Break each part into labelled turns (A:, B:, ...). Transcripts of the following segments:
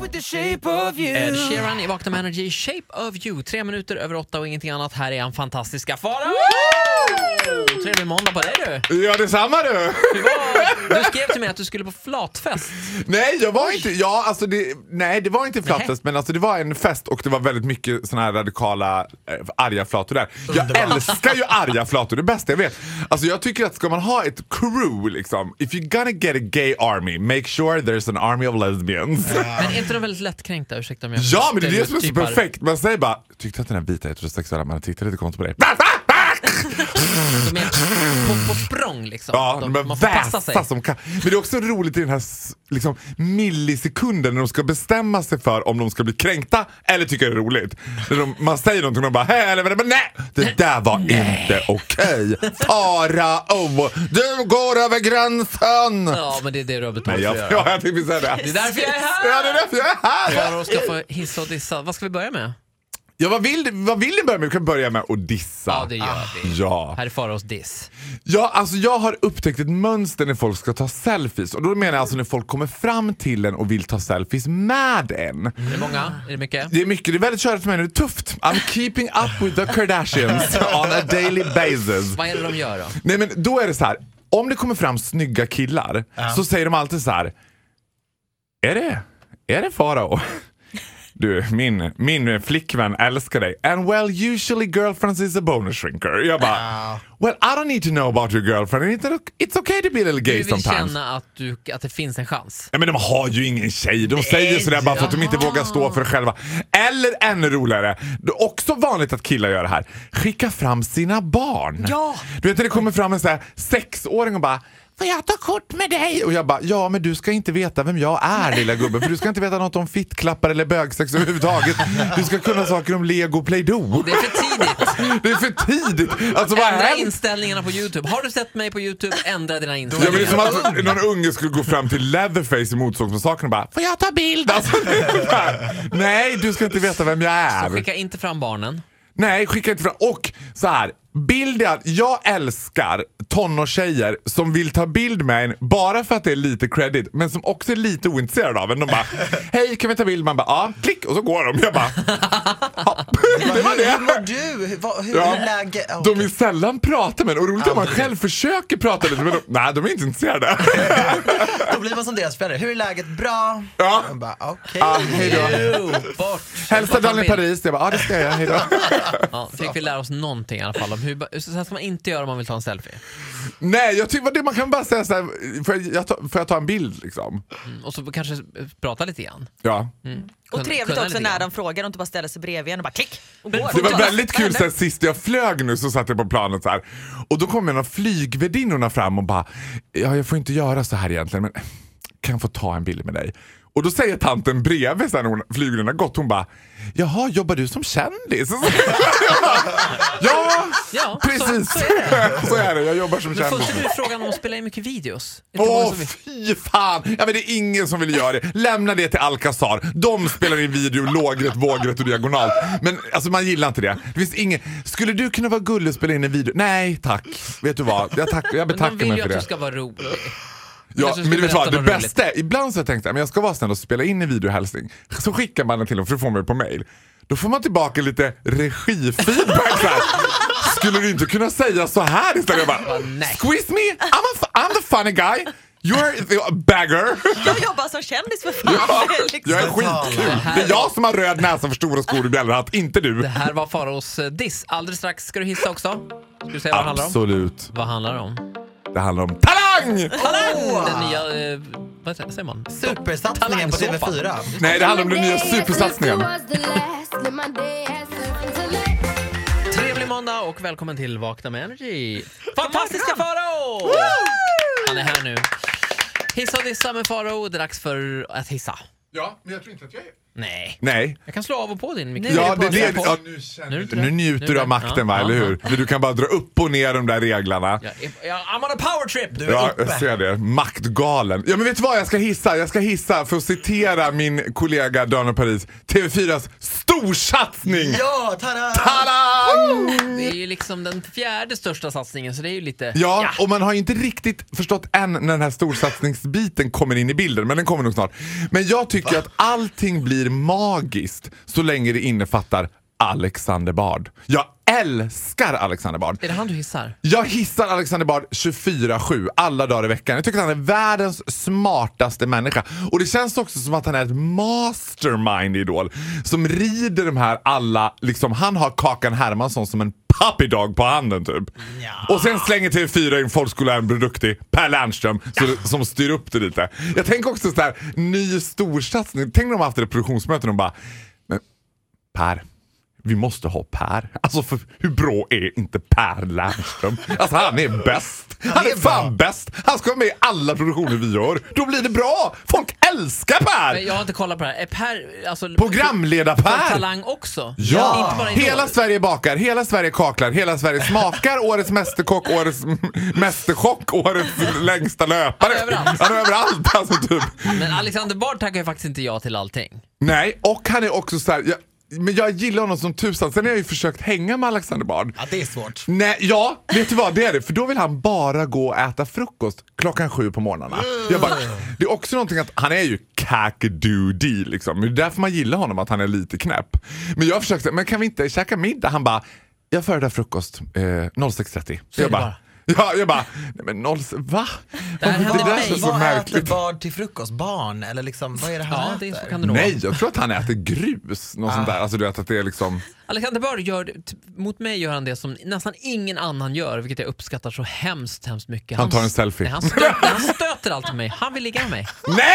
A: with the shape of you
B: Ed Sheeran i Vakna med Energy, Shape of you. Tre minuter över åtta och ingenting annat. Här är han, fantastiska Farao! Trevlig måndag på dig du!
C: Ja, detsamma du!
B: Du, var, du skrev till mig att du skulle på flatfest.
C: Nej, jag var inte... Ja, alltså det, nej, det var inte en flatfest, men alltså det var en fest och det var väldigt mycket såna här radikala eh, arga flator där. Jag älskar ju arga flator, det bästa jag vet. Alltså jag tycker att ska man ha ett crew liksom, if you're gonna get a gay army, make sure there's an army of lesbians.
B: Men är inte de väldigt lättkränkta? Ursäkta om jag typ
C: Ja, men det är det som är så
B: stereotypar.
C: perfekt. Man säger bara, tyckte att den här vita heterosexuella mannen tittade lite konstigt på dig.
B: De är på, på språng liksom.
C: Ja,
B: de,
C: de,
B: man får passa sig.
C: väsa som kan. Men det är också roligt i den här s- liksom, millisekunden när de ska bestämma sig för om de ska bli kränkta eller tycka det är roligt. När de, man säger någonting och de bara hej eller men nej! Det där var inte okej. Farao, du går över gränsen!
B: Ja, men det är det du har betalt
C: Nej, jag,
B: för att
C: ja,
B: göra.
C: jag tänkte säga det.
B: Det är därför jag är
C: Ja, det är
B: här!
C: därför jag är här!
B: Farao ska få hissa och dissa. Vad ska vi börja med?
C: Ja, vad, vill, vad vill ni börja med? Vi kan börja med att dissa.
B: Ja, det gör vi.
C: Ja.
B: Här är Faraos diss.
C: Ja, alltså jag har upptäckt ett mönster när folk ska ta selfies. Och då menar jag alltså när folk kommer fram till en och vill ta selfies med en.
B: Är det många? Är det mycket?
C: Det är mycket, det är väldigt körigt för mig nu, det är tufft. I'm keeping up with the Kardashians on a daily basis.
B: Vad är det de gör då?
C: Nej men då är det så här. om det kommer fram snygga killar så säger de alltid så här. Är det, är det Farao? Du, min, min flickvän älskar dig. And well, usually girlfriends is a bonus shrinker. Jag bara, well I don't need to know about your girlfriend. And It's it's okay to be a little
B: Du
C: gay
B: vill
C: sometimes.
B: känna att, du, att det finns en chans.
C: Nej, men de har ju ingen tjej. De säger sådär bara för att de inte vågar stå för det själva. Eller ännu roligare, det är också vanligt att killar gör det här. Skicka fram sina barn.
A: Ja.
C: Du vet när det kommer fram en sån här sexåring och bara Får jag ta kort med dig? Och jag bara, ja men du ska inte veta vem jag är lilla gubben för du ska inte veta något om fittklappar eller bögsex överhuvudtaget. Du ska kunna saker om lego och play-doh.
B: Det är för tidigt.
C: Det är för tidigt. Alltså vad
B: Ändra
C: händer?
B: inställningarna på Youtube. Har du sett mig på Youtube, ändra dina
C: Ja, men det är
B: inställningar.
C: som att någon unge skulle gå fram till Leatherface i Motorsågsmassakern och bara Får jag ta bild? Alltså, det är så här. Nej, du ska inte veta vem jag är.
B: Skicka inte fram barnen.
C: Nej, skicka inte fram. Och så här. Bilden, jag älskar tonårstjejer som vill ta bild med en bara för att det är lite credit men som också är lite ointresserade av en. De bara “Hej, kan vi ta bild?” Man bara “Ja, klick” och så går de. Jag bara ja, Det var
A: Hur mår
C: det.
A: du? Hur, vad, hur
C: Ja.
A: är läget? Ja,
C: De
A: okej.
C: vill sällan prata med en och roligt om man själv försöker prata lite men de, nej, de är inte intresserade.
A: Då blir man som deras föräldrar. Hur är läget? Bra?
C: Ja.
A: Man bara, okej.
C: Ja, hej då.
B: Jo, bort.
C: Hälsa
B: Bort med
C: Daniel
B: bild.
C: Paris. Jag bara, ja det ska jag, hejdå.
B: Ja, fick vi lära oss någonting i alla fall om hur, så här ska man inte göra om man vill ta en selfie.
C: Nej, jag tycker det man kan bara säga såhär, får jag, jag ta, får jag ta en bild liksom?
B: Mm, Och så kanske eh, prata lite grann.
C: Ja.
D: Och
B: Kunna-
D: trevligt
B: kunna
D: också
B: lite
D: när
B: grann.
D: de frågar och inte bara ställer sig bredvid en och bara klick och går.
C: Det var väldigt kul sen sist jag flög nu så satt jag på planet så här. och då kom en av flygvärdinnorna fram och bara, ja jag får inte göra så här egentligen men kan jag få ta en bild med dig? Och då säger tanten bredvid sen när hon- flygvärdinnan har gått, hon bara, jaha jobbar du som kändis? Och så- Jag bara, ja,
B: Ja, så-
C: precis.
B: så
C: så är det, jag jobbar som
B: Men
C: kändis.
B: först är det frågan om att spela in mycket videos. Är det inte många
C: Åh
B: som vill-
C: fy fan! Ja, men det är ingen som vill göra det. Lämna det till Alcazar. De spelar in video lågrätt, vågrätt och diagonalt. Men alltså man gillar inte det. Det finns ingen... Skulle du kunna vara gullig och spela in en video? Nej tack. Vet du vad? Jag, tack, jag
B: Men de
C: betackar
B: vill
C: mig
B: ju att
C: för
B: du
C: det.
B: ska vara rolig.
C: Ja,
B: kanske
C: men
B: ska
C: du vet vad,
B: berätta
C: det
B: något
C: bästa är, ibland så har jag tänkt att jag ska vara snäll och spela in en videohälsning. Så skickar man den till dem för att få mig på mail. Då får man tillbaka lite regifeedback. så här. Skulle du inte kunna säga så här istället? Jag bara,
B: nej.
C: squeeze me, I'm, a, f- I'm the funny guy. You're the bagger.
D: Jag jobbar som kändis för fan.
C: Ja,
D: Det är liksom-
C: jag är skitkul. Det är jag som har röd näsa för stora skor och bjällrahatt, inte
B: Det
C: du.
B: här var Faraos eh, diss. Alldeles strax ska du hissa också. Ska du säga vad det handlar om?
C: Absolut.
B: Vad handlar det om?
C: Det handlar om talang!
B: Den nya, eh, vad säger man?
A: Supersatsningen på
B: Talangsåpan.
A: TV4.
C: Nej, det handlar om den nya supersatsningen.
B: Trevlig måndag och välkommen till Vakna med Energy. Fantastiska Farao! Han är här nu. Hissa och dissa med Farao. Det är dags för att hissa.
C: Ja, men jag tror inte att jag är...
B: Nej.
C: Nej.
B: Jag kan slå av och på din mikrofon.
C: Ja, det, det,
B: på.
C: ja, nu, känner,
B: inte
C: du-
B: det. Nu
C: nu njuter
B: är
C: du
B: det.
C: av makten, va?
B: Ja,
C: eller
B: ja.
C: hur? Men du kan bara dra upp och ner de där reglarna.
B: Jag är- jag- I'm on a power trip!
A: Du är
C: Ja,
A: uppe.
C: jag ser det. Maktgalen. Ja, men vet du vad jag ska hissa? Jag ska hissa för att citera min kollega Daniel Paris. TV4s storsatsning!
A: Ja, tada!
C: Talang!
B: Det är ju liksom den fjärde största satsningen så det är ju lite...
C: Ja, och man har ju inte riktigt förstått än när den här storsatsningsbiten kommer in i bilden, men den kommer nog snart. Men jag tycker att allting blir magiskt så länge det innefattar Alexander Bard. Jag älskar Alexander Bard.
B: Är det han du hissar?
C: Jag hissar Alexander Bard 24-7 alla dagar i veckan. Jag tycker att han är världens smartaste människa. Och det känns också som att han är ett mastermind i Idol. Som rider de här alla, liksom han har Kakan Hermansson som en puppy dog på handen typ.
A: Ja.
C: Och sen slänger TV4 in folkskolläraren Produkti, Per Lernström, så, som styr upp det lite. Jag tänker också så här, ny storsatsning. Tänk när de har haft ett produktionsmöte och de bara, men Per. Vi måste ha Per. Alltså för hur bra är inte Per Lernström? Alltså han är bäst. Han
A: är
C: är fan
A: bra.
C: bäst. Han ska vara med i alla produktioner vi gör. Då blir det bra. Folk älskar
B: Men
C: Per!
B: jag har inte kollat på det här. Är Per, alltså... För
C: Programledar-Per!
B: Talang också?
C: Ja!
B: Inte bara Idol.
C: Hela Sverige bakar, hela Sverige kaklar, hela Sverige smakar, årets mästerkock, årets m- mästerchock, årets längsta löpare.
B: Han är överallt.
C: Han är överallt alltså typ.
B: Men Alexander Bard tackar ju faktiskt inte ja till allting.
C: Nej, och han är också så här, jag, men jag gillar honom som tusan. Sen har jag ju försökt hänga med Alexander Bard.
A: Ja, det är svårt.
C: Nej, ja, vet du vad? Det är det. För då vill han bara gå och äta frukost klockan sju på morgnarna. Jag bara, det är också någonting att han är ju kakadudi liksom. Det är därför man gillar honom, att han är lite knäpp. Men jag försökte, men kan vi inte käka middag? Han bara, jag föredrar frukost eh, 06.30.
B: är
C: jag
B: det bara.
C: Ja, jag bara, nej men 0, va? Det,
B: här hände
C: där
B: mig.
C: känns så
A: Vad äter
C: märkligt.
A: barn till frukost? Barn? Eller liksom, vad är det han
B: Ja, det
A: äter?
B: kan det nog vara.
C: Nej, jag tror att han äter grus. Något sånt där. Alltså du vet att det är liksom...
B: Alexander Bard gör, t- mot mig gör han det som nästan ingen annan gör, vilket jag uppskattar så hemskt, hemskt mycket.
C: Han tar en
B: s-
C: selfie.
B: Nej, han, stöter, han stöter alltid mig. Han vill ligga med mig.
C: Nej!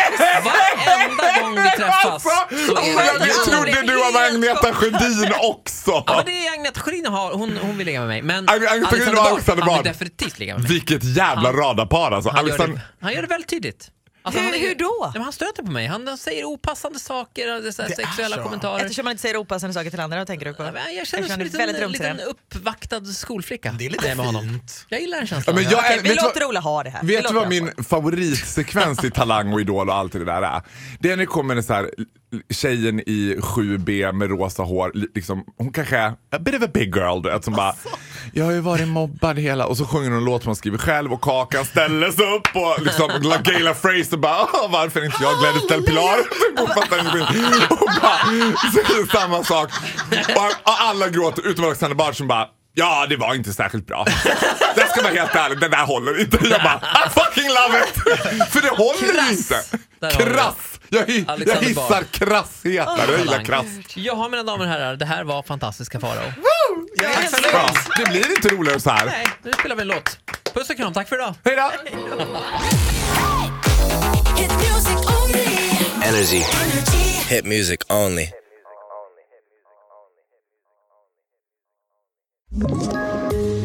B: Varenda gång vi träffas så är det
C: jag
B: ju-
C: trodde du var Agneta Sjödin också!
B: Ja, men det är Agneta Sjödin har, hon, hon vill ligga med mig. Men
C: Ag- Agneta Sjödin och Alexander
B: han
C: Bard.
B: vill definitivt ligga med mig.
C: Vilket jävla
B: Han-
C: radarpar alltså.
B: Han, gör
C: Alexander,
B: det, han gör det väldigt tydligt. Alltså,
D: Hur-
B: han är-
D: hur då?
B: Nej, men han stöter på mig. Han, han säger opassande saker, och det är så här
A: Det är
B: sexuella
A: så.
B: kommentarer.
D: Eftersom man inte säger opassande saker till andra, vad tänker du på?
B: Ja, men Jag känner mig
D: Eftersom
B: som
D: han
B: en
D: är väldigt
B: liten, liten
D: rumsren.
B: uppvaktad skolflicka.
A: Det är lite
B: Nej, med honom.
A: fint.
B: Jag gillar den
C: Ja,
B: känslan.
C: men jag är,
D: Okej, vi
C: vet du vad-
D: låter Ola ha det här. Vi
C: Vet du
D: låter
C: vad min
D: Ola
C: favoritsekvens i Talang och Idol och allt det där är? Det är när det kommer en så här tjejen i 7B med rosa hår, li- liksom, hon kanske är a bit of a big girl du vet, som bara
D: Alltså.
C: Jag har ju varit mobbad hela och så sjunger hon en låt som hon skriver själv och Kakan ställer sig upp och liksom la- Gayla Fraser bara "Ah, varför är inte jag Gladys Del Pilar? Hon fattar ingenting. Och bara säger samma sak. Och och alla gråter utom Alexander Bard som bara Ja, det var inte särskilt bra. Jag ska vara helt ärlig, den där håller inte. Jag bara, I fucking love it! För det håller
B: Krass.
C: ju inte.
B: Där har vi det.
C: Krass! Jag, hi- jag
B: Alexander Bard.
C: hissar krassheter. Jag gillar
B: Talang.
C: krass.
B: Jaha mina damer och herrar, det här var fantastiska Farao.
A: Jag är
D: Tack
A: helt
D: så mycket.
C: Bra.
A: slut.
C: Det blir inte roligare så här.
D: Nej.
B: Nu spelar vi en låt. Puss och kram, tack för idag.
C: Hej då!
E: Hit music only.
F: Energy.
E: Energy.
F: Hit music only.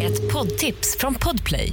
G: Ett poddtips från Podplay.